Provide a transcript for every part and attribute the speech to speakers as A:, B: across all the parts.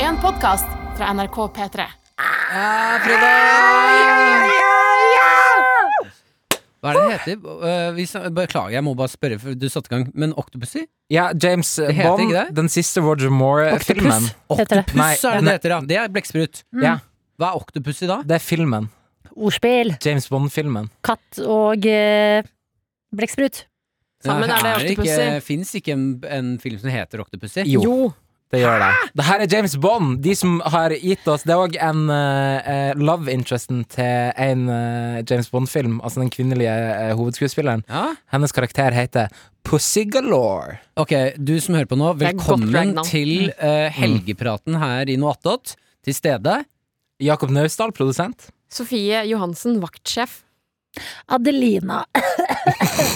A: en podkast fra NRK P3.
B: Hva er det det heter? Eh, vi sa- beklager, jeg må bare spørre, for du satte i gang. Men Octopussy?
C: Ja, James
B: heter
C: Bond,
B: ikke det?
C: den siste Roger Moore-filmen.
D: Heter det.
C: Nei,
B: Octopus er det det heter, ja. Det er blekksprut.
A: Mm.
C: Ja,
B: Hva er Octopussy da?
C: det er filmen.
D: Ordspill.
C: James Bond-filmen.
D: Katt og eh, blekksprut.
A: Sammen er det Octopussy.
B: Fins Eh, ikke en, en film som heter Octopussy?
C: Jo. Det gjør det. Det her er James Bond, de som har gitt oss Det er òg en eh, eh, love interesten til en eh, James Bond-film, altså den kvinnelige eh, hovedskuespilleren.
B: Ja?
C: Hennes karakter heter Pussy Galore.
B: Ok, du som hører på nå,
A: Det er godt Mm.
B: velkommen
A: dragnavn.
B: til eh, helgepraten her i Noattot. Til stede.
C: Jakob Naustdal, produsent.
A: Sofie Johansen, vaktsjef.
D: Adelina.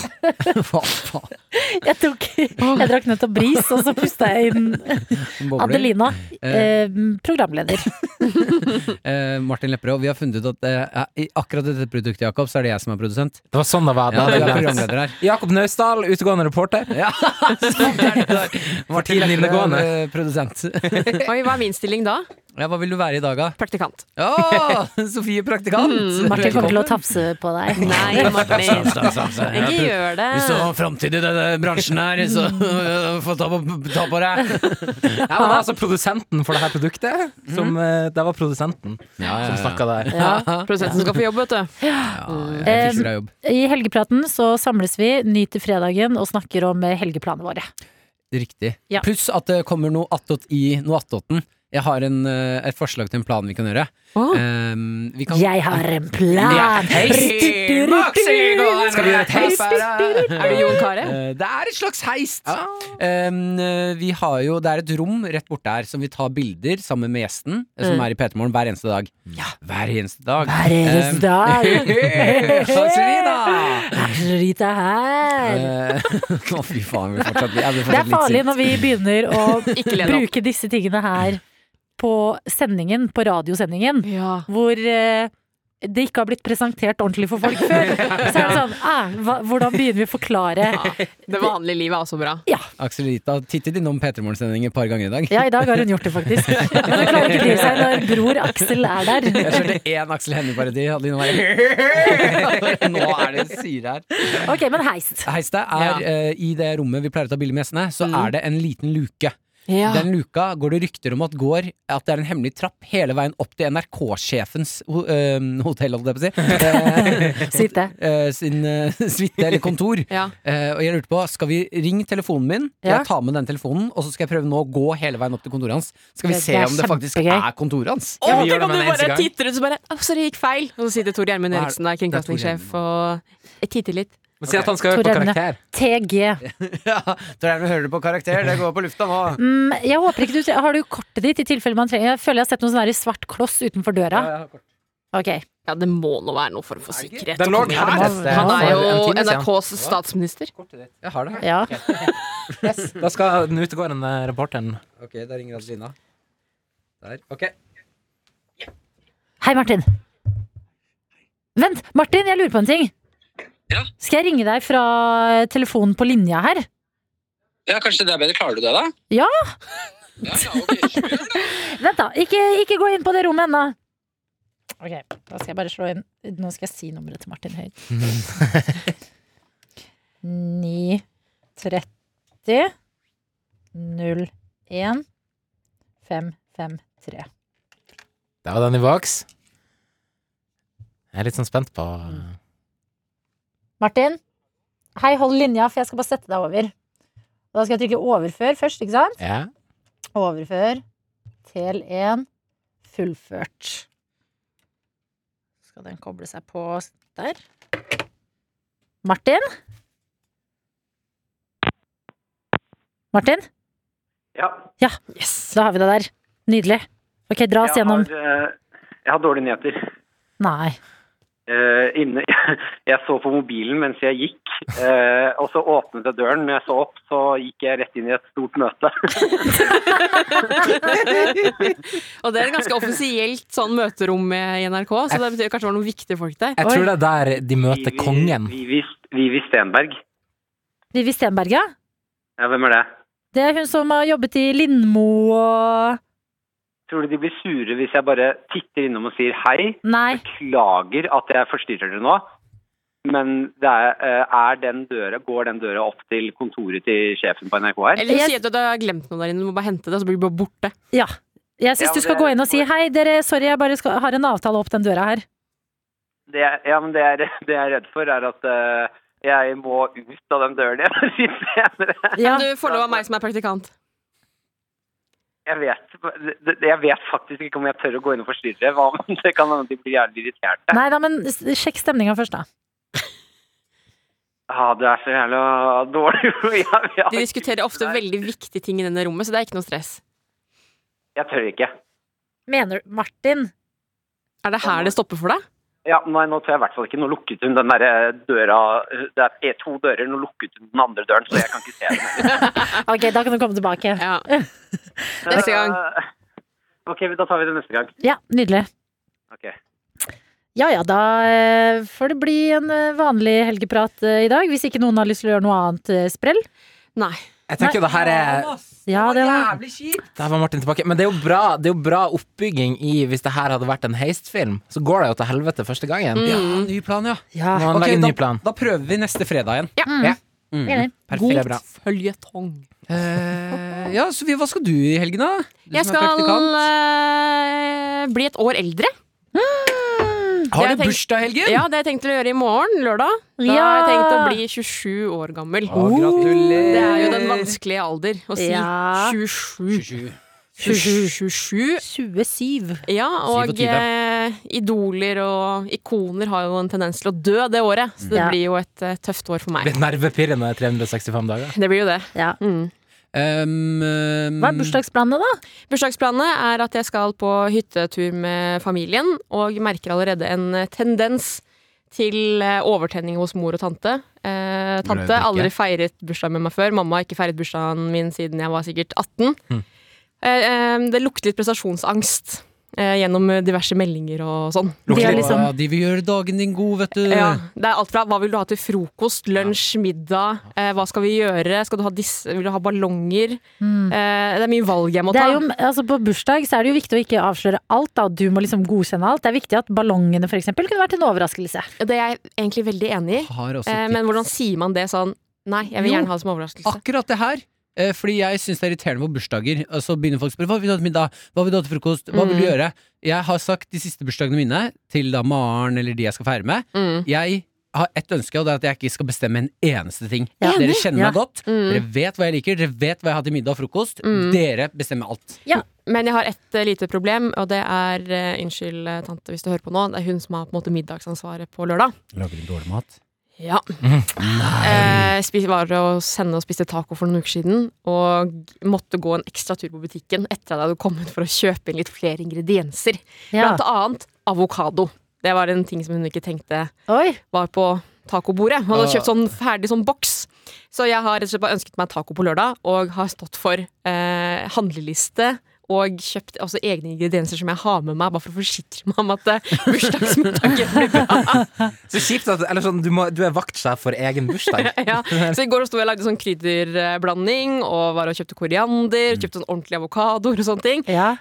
B: Hva faen?
D: Jeg, tok, jeg drakk nettopp bris, og så pusta jeg inn.
B: Bobler.
D: Adelina, eh, programleder.
B: Eh, Martin Lepperød, vi har funnet ut at eh, i akkurat dette produktet, Jakob, så er det jeg som er produsent.
C: Det var sånn det var.
B: Ja, du
C: Da hadde
B: er
C: jeg glemt.
B: programleder her.
C: Jakob Naustdal, utegående reporter.
B: Martin
C: Martin
B: Lepperød,
C: Innegående.
B: eh, produsent.
A: Oi, hva er min stilling da?
B: Ja, hva vil du være i dag, da?
A: Praktikant.
B: Å, Sofie Praktikant!
D: Mm, Martin kommer til å tafse på deg.
A: Nei, Martin. Ikke
B: Velkommen.
A: gjør det.
B: Hvis du har framtid i denne bransjen her, så øh, få ta på, ta på deg.
C: Ja, men det er altså produsenten for det her produktet.
B: Mhm.
C: Som, eh, det var produsenten som snakka der.
A: Ja, Produsenten skal få jobb, vet du.
B: Ja, jeg fikser deg jobb.
D: I Helgepraten så samles vi, nyter fredagen og snakker om eh, helgeplanene våre.
B: Riktig.
D: Ja.
B: Pluss at det kommer noe attåt i noe attåten. Jeg har en, eh, et forslag til en plan vi kan gjøre.
A: Åh.
B: Um, vi kan
D: Jeg har en
B: Ja,
D: plan!
B: hei, Maxi, nå er det
C: Skal vi gjøre et heis?
A: Er du Jon Kare?
B: Eh, Det er et slags heist! Um, eh, vi har jo, det er et rom rett borte her som vi tar bilder sammen med gjesten, eh, som
A: Mm.
B: er i P3 Morgen hver eneste dag. Hver eneste dag.
D: Hver eneste dag.
B: dag!
D: Rita her.
B: Eh, Å, fy faen. Vi fortsatt, jeg blir
D: Det er
B: fortsatt litt
D: farlig
B: sint.
D: når vi begynner å
A: Ikke le nå.
D: bruke disse tingene her på sendingen, på radiosendingen,
A: Ja.
D: hvor eh, det ikke har blitt presentert ordentlig for folk før. Så er det sånn, eh, hva, hvordan begynner vi å forklare?
A: Det vanlige livet er også bra.
B: Aksel Rita har tittet innom P3 Morgen-sending et par ganger i dag.
D: Ja, i dag har hun gjort det faktisk. Men hun klarer ikke å bry seg når bror Aksel er der.
B: Jeg kjørte én Aksel Hennie-parodi. Adeline var- Nå er det syre her.
D: Ok, men heist.
B: Heiste er eh, i det rommet vi pleier å ta bilde med gjestene, så
D: Mm.
B: er det en liten luke.
A: Ja.
B: Den luka går det rykter om at går At det er en hemmelig trapp hele veien opp til NRK-sjefens ho eh, hotell, holdt jeg på å si. Eh,
D: Sitte.
B: eh, sin eh, suite eller kontor.
A: Ja.
B: Eh, og jeg lurte på, skal vi ringe telefonen min?
D: Ja.
B: Jeg tar med den telefonen, og så skal jeg prøve nå å gå hele veien opp til kontoret hans. Skal vi
D: Det-
B: se
D: det er
B: om det faktisk
D: kjempegøy.
B: er kontoret hans?
A: Å, tenk
C: vi gjør
A: om
C: det med
A: du
C: en eneste
A: bare
C: gang.
A: titter ut så bare Å, sorry, det gikk feil. Og så sitter Tor Gjermund
B: Hva er-
A: Eriksen der,
B: det er Tor
A: kringkastingssjef, og jeg titter litt.
C: Men Si at han skal høre på
D: Tor Emne.
C: karakter.
D: TG.
B: Ja, Tror jeg vi hører det på karakter. Det går på lufta nå.
D: Mm, jeg håper ikke du Har du kortet ditt i tilfelle man trenger Jeg føler jeg har sett noen sånne her i svart kloss utenfor døra. Ok.
A: Ja, det må nå være noe form for sikkerhet.
C: Den lå her!
A: Han er jo
C: For en time siden.
A: NRKs statsminister.
B: Jeg har det her.
D: Ja.
C: Yes. Da skal den utegående eh, reporteren
B: Ok, der ringer Adelina. Der. Ok.
D: Hei, Martin. Vent, Martin, jeg lurer på en ting.
E: Ja?
D: Skal jeg ringe deg fra telefonen på linja her?
E: Ja, kanskje det er bedre. Klarer du det, da?
D: Ja.
E: Ja, ja, ok, kjør.
D: Vent, da. Ikke, ikke gå inn på det rommet ennå. Ok, da skal jeg bare slå inn Nå skal jeg si nummeret til Martin høyt. 9 30 0 1 5 5 3.
C: Det var den i boks. Jeg er litt sånn spent på
D: Martin, hei, hold linja, for jeg skal bare sette deg over. Og Da skal jeg trykke 'overfør' først, ikke sant?
C: Ja.
D: Overfør til 1. Fullført. Så skal den koble seg på der. Martin? Martin?
F: Ja,
D: Yes, da har vi deg der. Nydelig. Ok, dra oss
F: jeg har,
D: gjennom.
F: eh, jeg har dårlige nyheter.
D: Nei.
F: Eh, inne, jeg så på mobilen mens jeg gikk, eh, og så åpnet jeg døren. Når jeg så opp, så gikk jeg rett inn i et stort møte.
A: Og det er et ganske offisielt sånn møterom i NRK, så det betyr kanskje det var noen viktige folk der.
C: Jeg tror det er der de møter
F: Vivi-
C: kongen.
F: Vivi, Vivi Stenberg.
D: Vivi Stenberg, ja.
F: Ja, hvem er det?
D: Det er hun som har jobbet i Lindmo og
F: Tror du de blir sure hvis jeg bare titter innom og sier hei?
D: Nei.
F: Beklager at jeg forstyrrer dere nå, men det er, eh, er den døra, går den døra opp til kontoret til sjefen på NRK her?
A: Eller
D: Jeg-
A: si at du har glemt noe der inne, du må bare hente det, og så blir du bare borte.
D: Ja. Jeg syns
F: Ja,
D: du skal
F: det-
D: gå inn og si hei, dere, sorry, jeg bare skal, har en avtale opp den døra her.
F: Det, jeg- ja, men det, jeg er, det jeg er redd for, er at eh, jeg må ut av den døren igjen litt senere.
D: Ja.
A: Du får lov av meg som er praktikant.
F: Jeg vet, det- jeg vet faktisk ikke om jeg tør å gå inn og forstyrre. Hva om det kan hende de blir jævlig irriterte?
D: Nei da, men s- sjekk stemninga først, da.
F: Ja, det er så jævla dårlig. Jeg,
A: De
F: jeg,
A: diskuterer ofte veldig viktige ting i denne rommet, så det er ikke noe stress.
F: jeg tør ikke.
D: Mener du Martin?
A: Er det her det stopper for deg?
F: Ja, nei, nå tør jeg i hvert fall ikke. Nå lukket hun den der døra Det er to dører, nå lukket hun den andre døren, så jeg kan ikke se den.
D: Ok, da kan du komme tilbake.
A: Ja. Neste gang.
F: Eh, OK, da tar vi det neste gang.
D: Ja, nydelig.
F: Ok.
D: Ja ja, da eh, får det bli en eh, vanlig helgeprat eh, i dag. Hvis ikke noen har lyst til å gjøre noe annet eh, sprell.
A: Nei.
C: Jeg tenker det her er
D: Ja, det var
B: Jævlig kjipt!
C: Der var Martin tilbake. Men det er jo bra, det er jo bra oppbygging i hvis det her hadde vært en heistfilm. Så går det jo til helvete første gangen.
A: Mm.
B: Ja, ny plan, ja.
D: Ja.
C: Må han
B: Ok,
C: legge en ny
B: da,
C: plan.
B: da prøver vi neste fredag igjen.
D: Mm.
C: Ja.
B: Mm.
D: Enig.
C: Perfekt. Det er bra.
A: Føljetong.
B: Eh, ja, Sofie, hva skal du i helgen, da? Du
A: Jeg
B: som
A: skal
B: er praktikant.
A: eh, bli et år eldre.
B: Har
A: jeg
B: du
A: tenk-
B: bursdag i helgen?
A: Ja, det har jeg tenkt å gjøre i morgen, lørdag. Da har jeg tenkt å bli 27 år gammel.
B: Å, gratulerer.
A: Det er jo den vanskelige alder å si.
D: Ja.
A: 27.
B: 27.
A: 27.
D: 27.
A: Ja, og
B: 27.
A: eh, idoler og ikoner har jo en tendens til å dø det året, så det
D: Ja.
A: blir jo et eh, tøft år for meg.
C: Litt nervepirrende 365 dager.
A: Det blir jo det.
D: Ja.
A: Mm.
B: Um, um,
D: Hva er bursdagsplanene, da?
A: Bursdagsplanene er at jeg skal på hyttetur med familien, og merker allerede en eh, tendens til eh, overtenning hos mor og tante. Eh,
B: Vil du
A: tante
B: drikke?
A: har aldri feiret bursdag med meg før. Mamma har ikke feiret bursdagen min siden jeg var sikkert 18.
C: Mm.
A: Eh, eh, det lukter litt prestasjonsangst eh, gjennom eh, diverse meldinger og sånn.
D: De er
B: Å,
D: liksom
B: De vil gjøre dagen din god, vet du.
A: Ja, det er alt fra hva vil du ha til frokost, lunsj, middag, eh, hva skal vi gjøre, skal du ha disse, vil du ha ballonger? Eh, det er mye valg jeg må
D: det
A: ta.
D: er jo, altså på bursdag så er det jo viktig å ikke avsløre alt. Da. Du må liksom godkjenne alt. Det er viktig at ballongene for eksempel kunne vært en overraskelse.
A: Det er jeg egentlig veldig enig i.
B: Har også
A: Eh,
B: tips.
A: men hvordan sier man det sånn Nei, jeg vil
B: Jo.
A: gjerne ha det som overraskelse.
B: Akkurat det her. eh, Fordi jeg syns det er irriterende på bursdager. Og så begynner folk å spørre hva vil du ha til middag, hva vil du ha til frokost, hva vil du
A: Mm.
B: gjøre? Jeg har sagt de siste bursdagene mine til da Maren eller de jeg skal feire med.
A: Mm.
B: Jeg har ett ønske, og det er at jeg ikke skal bestemme en eneste ting.
D: Ja.
B: Dere kjenner meg godt,
A: Mm.
B: dere vet hva jeg liker, dere vet hva jeg har til middag og frokost.
A: Mm.
B: Dere bestemmer alt.
A: Men jeg har ett eh, lite problem, og det er eh, Unnskyld, eh, tante, hvis du hører på nå. Det er hun som har på en måte middagsansvaret på lørdag.
B: Lager du dårlig mat?
A: Ja. Eh, spis, var hos henne og spiste taco for noen uker siden. Og måtte gå en ekstra tur på butikken etter at jeg hadde kommet for å kjøpe inn litt flere ingredienser.
D: Ja.
A: Blant annet avokado. Det var en ting som hun ikke tenkte
D: Oi.
A: var på tacobordet. Han hadde kjøpt sånn ferdig sånn boks. Så jeg har rett og slett bare ønsket meg taco på lørdag, og har stått for eh, handleliste. Og kjøpt også egne ingredienser som jeg har med meg, bare for å forsikre meg om at eh, bursdagsmiddagen blir bra.
C: Så kjipt at eller sånn, du, må, du er vaktsjef for egen bursdag.
A: Ja. Så i går sto jeg og lagde sånn krydderblanding, og var og kjøpte koriander, kjøpte sånn ordentlige avokadoer og sånne ting.
D: Ja.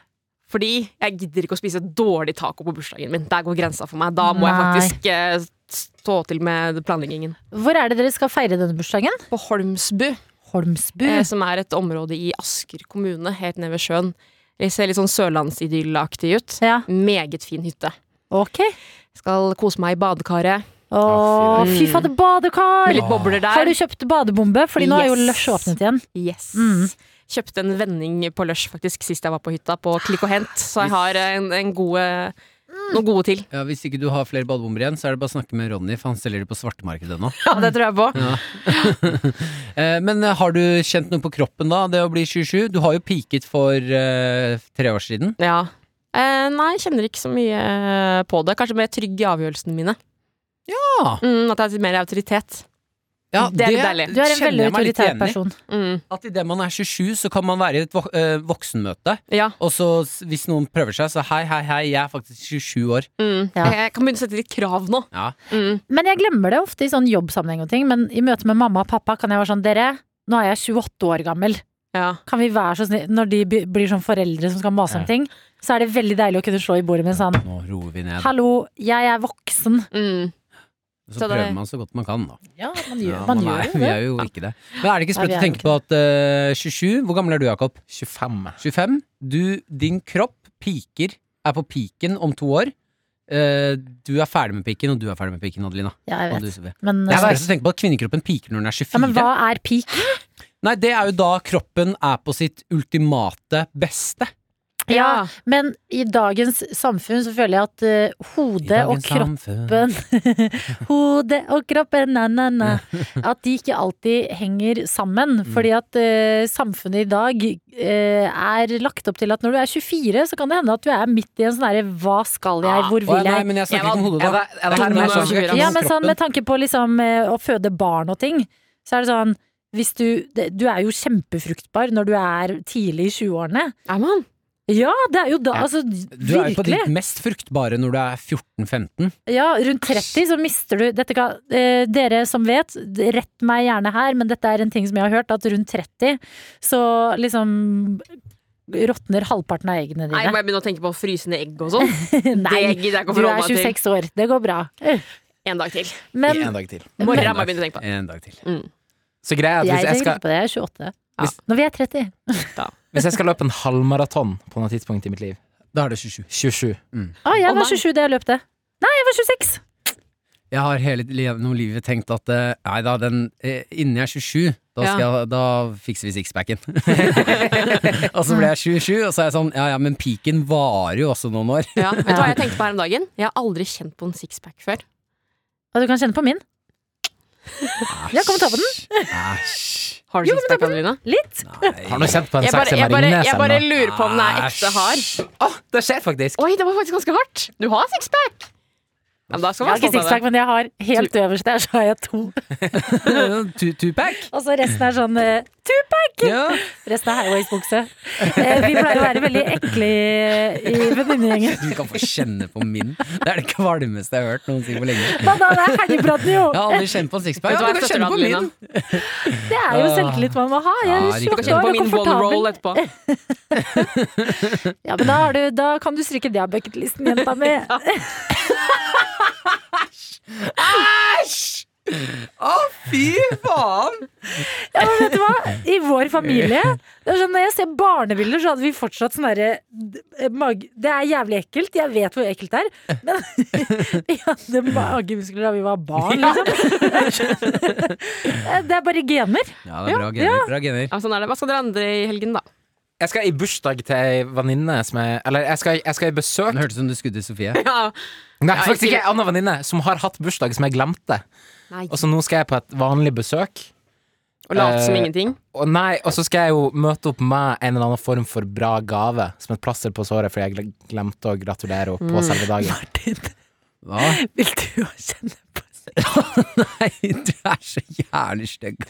A: Fordi jeg gidder ikke å spise dårlig taco på bursdagen min. Der går grensa for meg. Da må jeg
D: Nei.
A: faktisk eh, stå til med planleggingen.
D: Hvor er det dere skal feire denne bursdagen?
A: På Holmsbu
D: Holmsbu.
A: eh, som er et område i Asker kommune, helt nede ved sjøen. Det ser litt sånn sørlandsidyllaktig ut.
D: Ja.
A: Meget fin hytte.
D: Ok.
A: Skal kose meg i badekaret
D: Å, fy fader, badekar!
A: med litt bobler der.
D: Har du kjøpt badebombe? Fordi nå er jo
A: Yes.
D: Lush åpnet igjen.
A: Yes.
D: Mm.
A: Kjøpte en vending på Lush faktisk sist jeg var på hytta, på Klikk og Hent. Så jeg har eh, en, en gode,
D: Mm.
A: noen gode til.
B: Ja, Hvis ikke du har flere badebomber igjen, så er det bare å snakke med Ronny, for han selger det på svartemarkedet nå.
A: Ja, det tror jeg på.
B: Eh, Men eh, har du kjent noe på kroppen da, det å bli 27? Du har jo piket for eh, tre år siden.
A: Ja. Eh, nei, kjenner ikke så mye eh, på det. Kanskje mer trygg i avgjørelsene mine.
B: Ja.
A: Mm, at jeg har mer autoritet.
B: Ja,
A: Det er litt deilig.
D: Du er en
B: kjenner
D: veldig
B: jeg meg litt
D: autoritær
B: igjen i.
D: person.
A: Mm.
B: At idet man er 27, så kan man være i et vok eh, voksenmøte.
A: Ja.
B: Og så s- hvis noen prøver seg, så hei, hei, hei, jeg er faktisk 27 år.
A: Mm.
D: Ja.
A: Jeg, jeg kan begynne å sette litt krav nå.
B: Ja.
A: Mm.
D: Men jeg glemmer det ofte i sånn jobbsammenheng og ting. Men i møte med mamma og pappa kan jeg være sånn Dere, nå er jeg 28 år gammel.
A: Ja.
D: Kan vi være så snill Når de by- blir sånn foreldre som skal mase om
B: Ja.
D: ting, så er det veldig deilig å kunne slå i bordet med en sånn
B: Nå roer vi ned.
D: Hallo, jeg er voksen.
A: Mm.
B: Så
A: Så det-
B: prøver man så godt man kan, da.
D: Ja, man gjør,
B: Ja,
D: man
B: er,
D: gjør jo
B: Vi
D: det.
B: er jo ikke det. Men er det ikke sprøtt å
D: Nei, vi er jo
B: tenke på at eh, 27 Hvor gammel er du, Jakob?
C: 25.
B: 25? Du, din kropp piker, er på piken om to år. Eh, du er ferdig med piken, og du er ferdig med piken, Adelina.
D: Ja, jeg
B: Og
D: vet.
B: du-
D: Men, eh,
B: Det er verst å tenke på at kvinnekroppen piker når den er 24.
D: ja, men hva er peak?
B: Nei, det er jo da kroppen er på sitt ultimate beste.
D: Ja, men i dagens samfunn så føler jeg at eh, hodet og kroppen Hodet og kroppen, na, na, na. At de ikke alltid henger sammen.
B: Mm.
D: Fordi at eh, samfunnet i dag eh, er lagt opp til at når du er 24, så kan det hende at du er midt i en sånn herre hva skal jeg,
B: Å,
D: hvor
B: ja,
D: vil
B: nei,
D: jeg?
B: men jeg snakker ikke om hodet,
C: Er
B: da.
C: det, er det her mer sånn
A: Ja,
D: Ja,
A: men
D: men sånn med tanke på liksom eh, å føde barn og ting, så er det sånn hvis du, det- du er jo kjempefruktbar når du er tidlig i 20-årene.
A: Er man?
D: Ja, det er jo da,
B: Ja.
D: altså
B: Du er jo på
D: virkelig.
B: ditt mest fruktbare når du er 14-15.
D: Ja, rundt 30 så mister du dette kan, eh, Dere som vet, rett meg gjerne her, men dette er en ting som jeg har hørt, at rundt 30 så liksom råtner halvparten av eggene
A: Nei, må
D: dine.
A: jeg begynne å tenke på frysende egg og sånn? Det
D: Nei,
A: gidder jeg ikke å
D: du
A: forholde
D: er
A: meg til.
D: 26 år, det går bra.
A: En dag til.
D: Men
C: En dag til.
A: I Morgen må jeg begynne å tenke på det.
B: En dag til.
C: Så greia er at
D: jeg
C: hvis jeg
D: tenker
C: skal,
D: ikke på det, jeg er 28.
A: Ja.
D: Når vi er 30.
C: hvis jeg skal løpe en halvmaraton på noe tidspunkt i mitt liv
B: Da er det 27.
C: 27.
D: Å,
A: Å,
D: Ah, jeg
A: nei.
D: var 27 da jeg løp det. Nei, jeg var 26!
B: Jeg har hele li- gjennom livet tenkt at eh, nei da, den, eh, innen jeg er 27, da, skal jeg, da fikser vi sixpacken. og så ble jeg 27, og så er jeg sånn ja ja, men piken varer jo også noen år.
A: Ja. Vet du hva jeg tenkte på her om dagen? Jeg har aldri kjent på en sixpack før.
D: Og du kan kjenne på min. Ja, kom og ta på den.
B: Æsj.
A: Har du sixpack, Adelina?
D: Litt.
B: Nei.
C: Har du kjent på en
A: Jeg bare,
C: sexy
A: jeg, bare,
C: marinese?
A: jeg bare lurer på om den er ekte
B: Æsj.
A: hard.
C: Det skjer faktisk.
A: Oi, det var faktisk ganske hardt. Du har sixpack! Ja, men da skal
D: Jeg har
A: man
D: ikke
A: stå med
D: sixpack,
A: det.
D: men jeg har helt øverst der, så har jeg to.
B: Two- Two-pack?
D: Og så resten er sånn eh,
B: Ja.
D: Resten er highways-bukse. Eh, Vi pleier å være veldig ekle i venninnegjengen.
B: Du kan få kjenne på min. Det er det kvalmeste jeg har hørt noen si på lenge.
D: Men da det er helgepraten, jo!
B: Jeg har aldri kjent på en sixpack.
A: Vet du hva,
B: Ja,
A: jeg
B: du kan
A: støtter
B: kjenne på min.
A: Adelina.
D: Det er jo selvtillit man må ha.
B: Ah.
D: Jeg
B: Ja,
D: er
B: riktig.
A: Du kan kjenne på
D: 28 år og
A: min one roll
D: komfortabel.
A: etterpå.
D: Ja, men da, har du, da kan du stryke det av bucketlisten, jenta mi.
B: Å, fy faen!
D: Ja, men vet du hva? I vår familie det er sånn, Når jeg ser barnebilder, så hadde vi fortsatt sånn derre d- eh, mag- Det er jævlig ekkelt. Jeg vet hvor ekkelt det er. Men vi hadde magemuskler da vi var barn, liksom. Det er bare gener.
B: Ja, det er bra gener. Bra gener.
A: Ja, sånn er det. Hva skal dere andre i helgen, da?
C: Jeg skal i bursdag til ei venninne som er Eller jeg skal, jeg skal i besøk
B: Det hørtes ut som du skudde Sofie.
A: Ja.
C: Nei,
A: jeg
C: faktisk
A: sier-
C: ikke ei anna venninne som har hatt bursdag som jeg glemte.
A: Nei.
C: Og så nå skal jeg på et vanlig besøk.
A: Og late som
C: eh,
A: ingenting?
C: Og nei, og så skal jeg jo møte opp med en eller annen form for bra gave, som et plaster på såret, fordi jeg gle- glemte å gratulere henne på selve dagen.
B: Hva?
D: Vil du kjenne på
B: Nei, du er så jævlig stygg.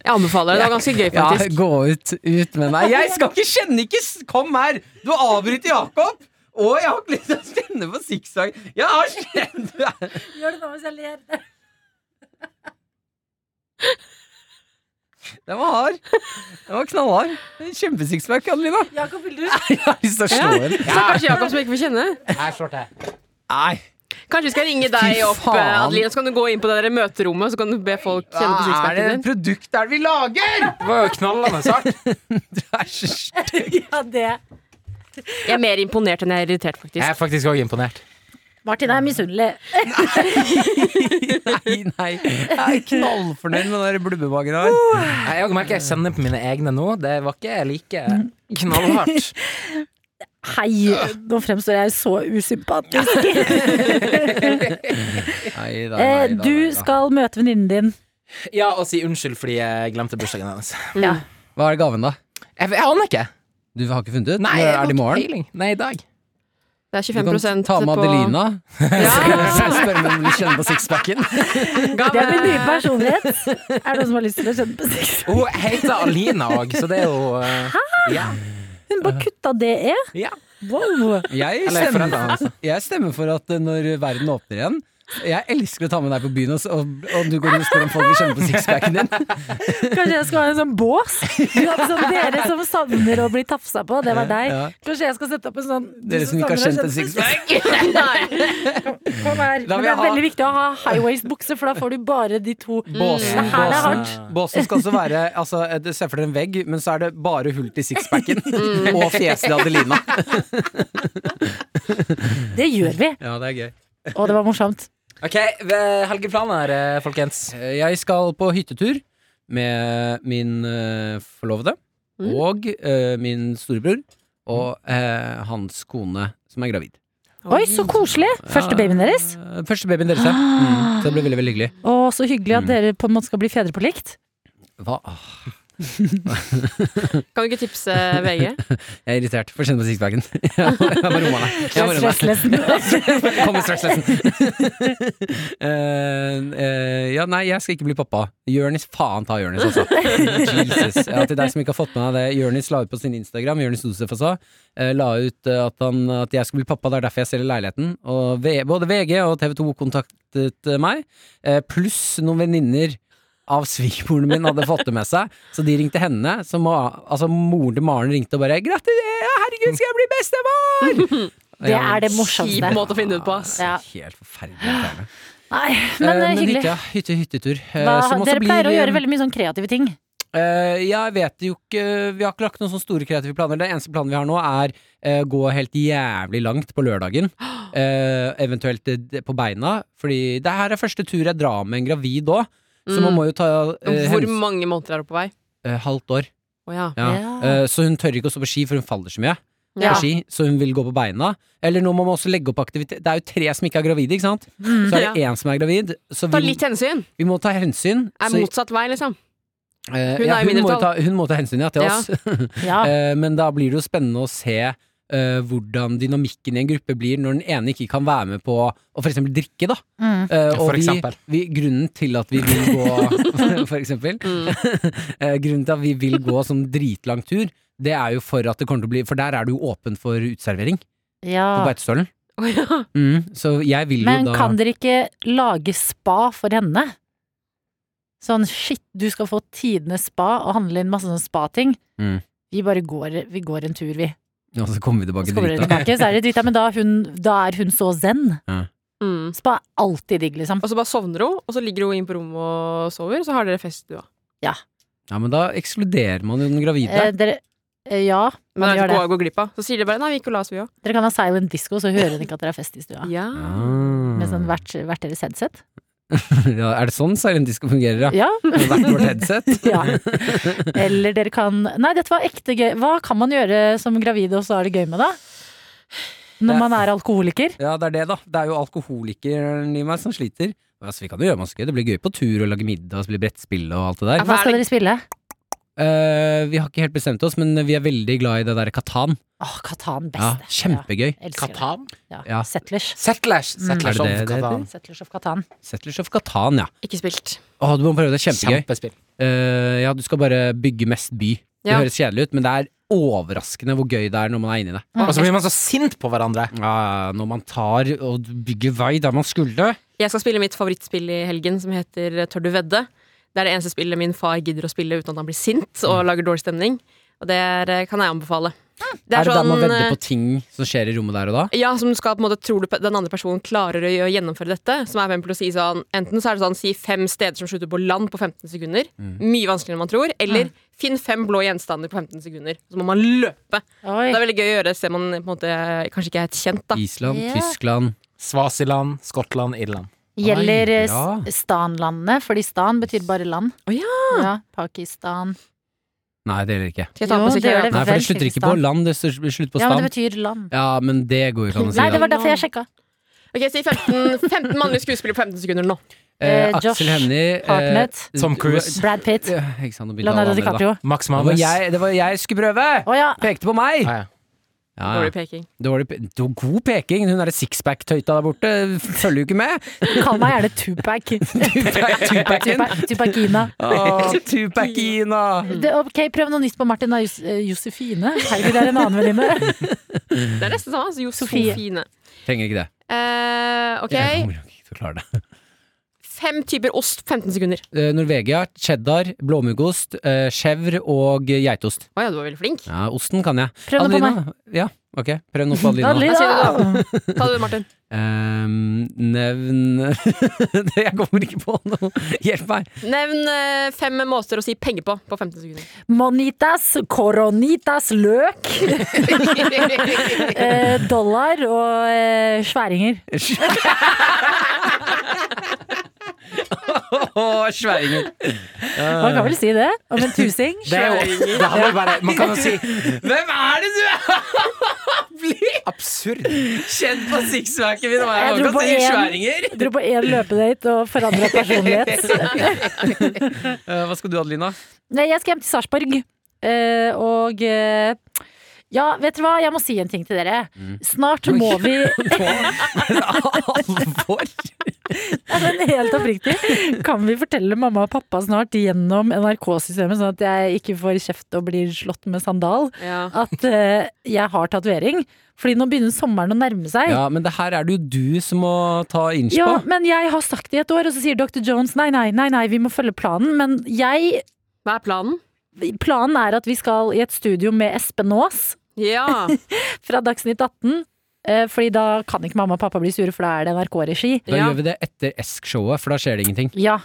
A: Jeg anbefaler det. Det var ganske gøy,
B: Ja,
A: faktisk.
B: gå ut, ut med meg. Jeg skal ikke kjenne ikke s- Kom her! Du avbryter Jakob! Å, jeg har ikke lyst til å kjenne på sikksakk. Jeg har kjent du er-
D: Gjør det nå hvis jeg ler.
B: Den var hard. Den var knallhard. Kjempesikksakk, Adelina.
D: Jakob, vil du
B: Jeg har lyst til å slå henne.
A: Stakkars Jakob som ikke får kjenne.
C: Her slår til.
B: Nei.
A: Kanskje vi skal ringe deg
B: Fy
A: opp,
B: faen.
A: eh, Adeline, så kan du gå inn på det der møterommet, så kan du be folk kjenne på
B: Hva er det
A: sixpacken din.
B: produktet er det vi lager?
C: Det var jo knallende sart.
B: Du er så stygg.
D: Ja, det.
A: Jeg er mer imponert enn jeg er irritert, faktisk.
C: Jeg er faktisk òg imponert.
D: Martin er misunnelig.
B: Nei, nei. Jeg er knallfornøyd med den der blubbebagen her.
C: Nei, Jeg merker jeg kjenner på mine egne nå. Det var ikke like knallhardt.
D: Hei, nå fremstår jeg så usympatisk.
B: Neida,
D: Eh,
B: neida,
D: Du
B: neida.
D: skal møte venninnen din.
C: Ja, og si unnskyld fordi jeg glemte bursdagen hennes.
D: Ja.
B: Hva er gaven, da?
C: Jeg, jeg aner ikke.
B: Du har ikke funnet ut?
C: Nei, jeg
B: er
C: har
B: det i
C: ikke
B: morgen?
C: peiling. Nei, i dag.
A: Det er
B: Du
A: 25
B: kan ta med
A: på-
B: Adelina.
A: Ja.
B: Så spør vi om du kjenner på sixpacken.
A: Ga
D: Det er min
A: med-
D: nye personlighet. Er det noen som har lyst til å kjenne på sex?
C: Hun heter Alina òg, så det er jo eh, ja.
D: Hun bare kutta det e.
C: ja.
D: Wow.
B: Jeg
C: Eller
B: stemmer,
C: foreldrene, altså.
B: jeg stemmer for at eh, når verden åpner igjen, Jeg elsker å ta med deg på byen, og, så- og, og du går inn og spør om folk vil kjenne på sixpacken din.
D: Kanskje jeg skal ha en sånn bås? Du hadde sånn dere som savner å bli tafsa på, det var deg.
B: Ja.
D: Kanskje jeg skal sette opp en sånn du
B: Dere som ikke har
D: savner
B: kjent
D: å
B: en
D: kjenne på
B: sixpack.
D: sex, kom
B: Da
D: her.
B: vil
D: Men det
B: jeg
D: er
B: ha-
D: veldig viktig å ha high-waist-bukse, for da får du bare de to
B: Båsen,
D: Det Mm, her er hardt.
B: båsen, båsen skal også være altså, Du ser for deg en vegg, men så er det bare hull til sixpacken. Og fjeset til Adelina.
D: Det gjør vi.
B: Ja, det er gøy.
D: Å, det var morsomt.
C: Ok, ve- helgeplaner, eh, folkens.
B: Jeg skal på hyttetur med min eh, forlovede
A: Mm.
B: og eh, min storebror og eh, hans kone som er gravid.
D: Oi, så koselig! Første babyen deres. Ah.
B: Eh, Første babyen deres, ja. Mm, så det blir veldig, veldig hyggelig.
D: Å, så hyggelig at dere på en måte skal bli fedre på likt.
B: Hva? Ah,
A: Kan du ikke tipse VG?
B: Jeg er irritert. Få kjenne på sixpacken. Jeg må jeg må roe meg. Jeg må roe meg.
D: Stressløsen.
B: Kommer straks Eh, ja, nei, jeg skal ikke bli pappa. Jørnis, faen ta Jørnis, altså. Jesus. Ja, til deg som ikke har fått med deg det. Jørnis la ut på sin Instagram, Jørnis Josef også, eh, la ut eh, at, han, at jeg skulle bli pappa, det er derfor jeg selger leiligheten. Og v både VG og TV 2 kontaktet eh, meg, eh, pluss noen venninner. Av svigermoren min hadde fått det med seg, så de ringte henne. Så ma altså, moren til Maren ringte og bare 'Gratulerer, herregud, skal jeg bli bestemor!'
D: Det er det morsomste.
A: Kjip måte å finne ut på, ass.
D: Ja.
B: Helt forferdelig. irriterende.
D: Nei, men eh,
B: Eh,
D: hyggelig.
B: hytte, hytte, hyttetur. eh,
D: Hva,
B: som også
D: dere
B: blir,
D: pleier å
B: eh,
D: gjøre veldig mye sånn kreative ting.
B: eh, Jeg vet jo ikke Vi har ikke lagt noen sånne store kreative planer. Det eneste planen vi har nå, er eh, gå helt jævlig langt på lørdagen. Eh, eventuelt eh, d- på beina. Fordi det her er første tur jeg drar med en gravid òg.
D: Mm.
B: Så man må jo ta eh,
A: Hvor
B: hensyn-
A: mange måneder er du på vei?
B: eh, Halvt år.
A: Å ja.
B: Ja.
D: Ja.
B: Eh, så hun tør ikke å stå på ski, for hun faller så mye.
A: Ja.
B: På ski, så hun vil gå på beina. Eller nå må man også legge opp aktivitet. Det er jo tre som ikke er gravide, ikke sant? Så er det én som er gravid. Så
A: Mm. Ta
B: vi,
A: litt hensyn.
B: vi må ta hensyn.
A: Er
B: så-
A: motsatt vei, liksom.
B: Eh,
A: Hun
B: ja,
A: er i
B: hun, må jo
A: mindretall.
B: ta, hun må ta hensyn ja, til
A: Ja. Ah.
B: oss,
D: Ja.
B: Eh, men da blir det jo spennende å se eh, hvordan dynamikken i en gruppe blir når den ene ikke kan være med på å f.eks. drikke. da
D: Mm.
B: Eh,
C: For
B: vi,
C: eksempel.
B: vi, Grunnen til at vi vil gå For eksempel.
A: Mm.
B: Eh, grunnen til at vi vil gå sånn dritlang tur, det er jo for at det kommer til å bli For der er det jo åpent for uteservering
D: ja.
A: Ah.
B: på Beitostølen.
A: Å ja.
B: Mm, så jeg vil
D: Men
B: jo da
D: kan dere ikke lage spa for henne? Sånn shit, du skal få tidenes spa og handle inn masse sånne spating.
B: Mm.
D: Vi bare går, vi går en tur, vi.
B: Ja, så kommer vi
D: Og
B: tilbake
D: Så kommer
B: dit.
D: dere tilbake, så er det drita. Men da, er hun, da er hun så zen.
A: Mm.
D: Spa er alltid digg, liksom.
A: Og så bare sovner hun, og så ligger hun inn på rommet og sover, så har dere fest i stua.
B: Ja, men da ekskluderer man jo den gravide.
D: Eh, dere, eh, ja,
A: Men
D: man
A: det er
D: gjør det.
A: ikke å gå glipp av. Så sier de bare 'nei, vi gikk og la oss, vi òg'.
D: Dere kan ha silent disco, så hører hun ikke at dere har fest i stua.
A: Ja.
B: Ah.
D: Med sånn hvert, hvert deres headset.
B: Ja, er det sånn silent disco fungerer, ja?
D: Ja.
B: Med hvert vårt headset?
D: ja. Eller dere kan Nei, dette var ekte gøy. Hva kan man gjøre som gravid og så er det gøy med, da?
B: Det-
D: Når man er alkoholiker?
B: Ja, det er det, da. Det er jo alkoholikeren i meg som sliter. Altså, vi kan jo gjøre masse gøy. Det blir gøy på tur og lage middag og spille brettspill og alt det der.
A: Ja, for-
D: Hva skal
A: er
D: dere spille?
B: Eh, vi har ikke helt bestemt oss, men vi er veldig glad i det derre Katan.
D: Åh, Katan
B: Ja,
D: best.
B: kjempegøy.
D: Ja, elsker det.
C: Katan?
D: Ja.
B: Ja.
D: Settlers.
C: Settlers.
B: Er
C: Settlers
B: det
C: of
B: det det heter?
C: Catan.
D: Settlers of Katan.
B: Settlers of Katan, ja.
A: Ikke spilt.
B: Å, du må prøve det. Kjempegøy.
C: Kjempespill.
B: Eh, ja, du skal bare bygge mest by. Det
A: Ja.
B: høres kjedelig ut, men det er overraskende hvor gøy det er når man er inni det.
C: Og så blir man så sint på hverandre.
B: Ja, når man tar og bygger vei der man skulle.
A: Jeg skal spille mitt favorittspill i helgen, som heter eh, Tør du vedde? Det er det eneste spillet min far gidder å spille uten at han blir sint og lager dårlig stemning. Og det er, eh, kan jeg anbefale.
D: Ah.
A: Det
B: er det der
D: sånn,
B: man
A: eh,
B: vedder på ting som skjer i rommet der og da?
A: Ja, som du skal på en måte Tror du pe- den andre personen klarer å å gjennomføre dette? Som er eksempel å si sånn Enten så er det sånn si fem steder som slutter på land på 15 sekunder.
B: Mm.
A: Mye vanskeligere enn man tror. Eller
D: Ah.
A: finn fem blå gjenstander på 15 sekunder. Så må man løpe.
D: Oi.
A: Det er veldig gøy å gjøre et sted man på en måte kanskje ikke er helt kjent. da
B: Island,
D: Ja.
B: Tyskland
C: Svasiland, Skottland, Irland.
D: Gjelder
B: Oi,
D: eh,
B: bra.
D: s- Stan-landene, fordi Stan betyr bare land.
A: Å
D: Ja, Pakistan
B: Nei, det gjelder ikke.
A: Skal jeg ta
D: Jo,
A: på
D: det gjør
A: sekretæren?
B: Nei, for det
D: vel
B: slutter ikke på
D: Kirgisistan.
B: land, det slutter slutter på
D: Ja, men
B: stand.
D: det betyr land.
B: Ja, men det går jo ikke an å si.
D: Nei, det
B: da.
D: var derfor jeg sjekka.
A: Ok, Si 15, 15 mannlige skuespillere på 15 sekunder nå.
B: Eh,
D: Eh,
B: Aksel
D: Josh
B: Hennie eh,
D: Hartnett,
C: Tom Cruise.
D: Brad Pitt,
B: ja, Ikke sant, nå begynte alle
D: Leonardo
B: andre, da.
D: DiCaprio.
C: Max
B: Det var
C: Manus.
B: jeg, det var jeg skulle prøve!
D: Å ja!
B: Pekte på meg!
C: Ah, ja.
B: Ja,
A: Dårlig
B: ja.
A: peking.
B: Dårlig pe det var god peking. Hun derre sixpack-tøyta der borte følger jo ikke med.
D: Kall meg gjerne Tupac.
B: Tupac-in.
D: Tupac- Tupacina.
B: Åh, Tupac-ina!
D: Det, ok, prøv noe nytt på Martin og Jus- eh, Josefine. Herregud, det er en annen venninne.
A: Det er nesten sånn. Altså, jo,
D: Sofie.
A: Sofine.
B: Trenger ikke det.
A: Eh, ok.
B: Jeg kommer ikke til skal klare det.
A: Fem typer ost, 15 sekunder.
B: Eh, Norvegia, cheddar, blåmuggost, eh, chèvre og geitost.
A: Å ja, du var veldig flink.
B: Ja, osten kan jeg.
D: Prøv det på meg.
B: Ja, ok. Prøv noe på Adelina.
A: Hva sier
D: Adelina.
A: du da? Ta det, Martin.
B: Ehm, nevn Jeg kommer ikke på noe. Hjelp meg.
A: Nevn eh, fem måter å si penger på på 15 sekunder.
D: Monitas, coronitas, løk, eh, dollar og eh, sværinger.
B: Åh, sværinger.
D: Man kan vel si det om en tusing?
C: Det er jo det er jo bare, Man kan jo si
B: Hvem er det du er?
C: absurd.
B: Kjent på sixpacken min.
D: Jeg dro på én. Dro på én løpedate og forandra personlighet.
B: Eh, hva skal du, Adelina?
D: Nei, jeg skal hjem til Sarpsborg. eh, og eh, ja, vet dere hva? Jeg må si en ting til dere. Snart må vi
B: Alvor?
D: Ja, men Helt oppriktig. Kan vi fortelle mamma og pappa snart gjennom NRK-systemet, sånn at jeg ikke får kjeft og blir slått med sandal,
A: Ja.
D: at eh, jeg har tatovering? Fordi nå begynner sommeren å nærme seg.
B: Ja, men det her er det jo du som må ta inch
D: Ja,
B: på.
D: men jeg har sagt det i et år, og så sier dr. Jones nei, nei, nei, nei, vi må følge planen. Men jeg
A: Hva er planen?
D: Planen er at vi skal i et studio med Espen Aas
A: Ja.
D: fra Dagsnytt 18. eh, Fordi da kan ikke mamma og pappa bli sure, for da er det NRK-regi.
B: Da
A: Ja.
B: gjør vi det etter Esk-showet, for da skjer det ingenting.
D: Ja.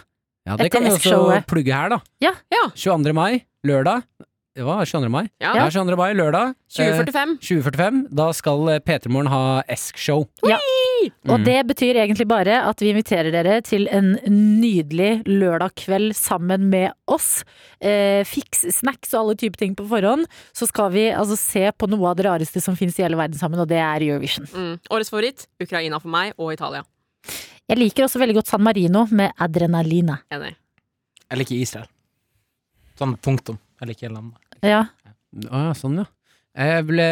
B: Ja, Det
D: Etter
B: kan vi også
D: Esk-showet.
B: plugge her, da.
D: Ja.
A: Ja.
B: 22. mai, lørdag. Det var 22. mai.
A: Ja.
B: Det er 22. mai, lørdag. Eh,
A: 2045.
B: 2045. Da skal eh, P3 Morgen ha Esk-show.
D: Og
B: Mm.
D: det betyr egentlig bare at vi inviterer dere til en nydelig lørdag kveld sammen med oss. Eh, fiks snacks og alle typer ting på forhånd. Så skal vi altså se på noe av det rareste som finnes i hele verden sammen, og det er Eurovision.
A: Mm. Årets favoritt Ukraina for meg og Italia.
D: Jeg liker også veldig godt San Marino med Adrenalina.
A: Enig.
C: Jeg liker Israel. Sånn punktum. Jeg liker landet.
D: Ja.
B: Å ja, sånn ja. Jeg ble,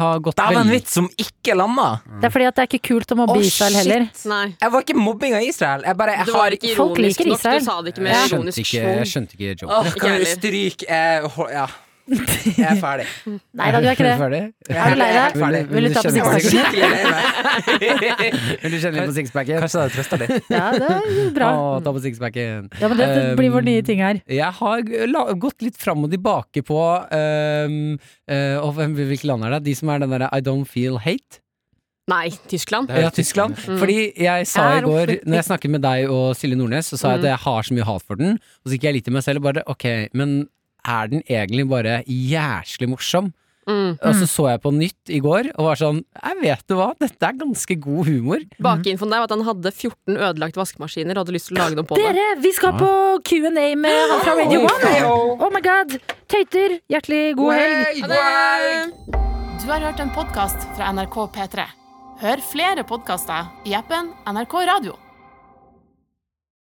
B: har gått
C: Det var en
B: veldig-
C: vits som ikke landa!
D: Det er fordi at det er ikke kult å mobbe
C: Å,
D: Israel
C: shit.
D: heller.
A: Nei.
C: Jeg var ikke mobbing av Israel. Jeg bare jeg
A: Det var
C: har
A: ikke
D: Folk
A: ironisk
D: liker
A: nok.
D: Israel.
A: Du sa det ikke med
B: Jeg skjønte
A: ironisk
B: ikke, jeg
A: tone.
B: skjønte ikke joken.
C: Åh,
A: Ikke
C: kan
A: heller.
C: du stryke eh, hå- Ja. Jeg er ferdig.
D: Nei da, du er ikke det.
B: Ferdig?
D: Er
C: Jeg er
D: du lei deg?
C: helt ferdig.
D: Vil du ta på
B: Vil du
C: Jeg er
D: sixpacken?
C: skikkelig lei meg.
B: Vil du kjenne litt på sixpacken?
C: Kanskje det hadde trøsta litt.
D: Ja, det er bra.
B: Å, ta på sixpacken.
D: Ja, men
C: Ehm,
D: det blir vår nye ting her.
B: Jeg har g- la- gått litt fram og tilbake på ehm, eh, og hvem, Hvilke land er det? De som er den derre I don't feel hate?
A: Nei, Tyskland.
B: Ja, Tyskland. Fordi jeg sa
A: Jeg
B: i
A: er
B: går,
A: oppriktig.
B: når jeg snakket med deg og Silje Nordnes, så sa jeg at
A: Mm.
B: jeg har så mye hat for den, og så gikk jeg litt i meg selv og bare ok, men er den egentlig bare jæslig morsom?
A: Mm.
B: Og så så jeg på nytt i går og var sånn, jeg vet du hva, dette er ganske god humor.
A: Bakeinfoen der var at han hadde 14 ødelagte vaskemaskiner og hadde lyst til å lage noe på det.
D: Dere, vi skal på Q&A med han fra Radio
B: Oi.
D: One. Oh my god. Tøyter, hjertelig god helg.
A: Ha det!
G: Du har hørt en podkast fra NRK P3. Hør flere podkaster i appen NRK Radio.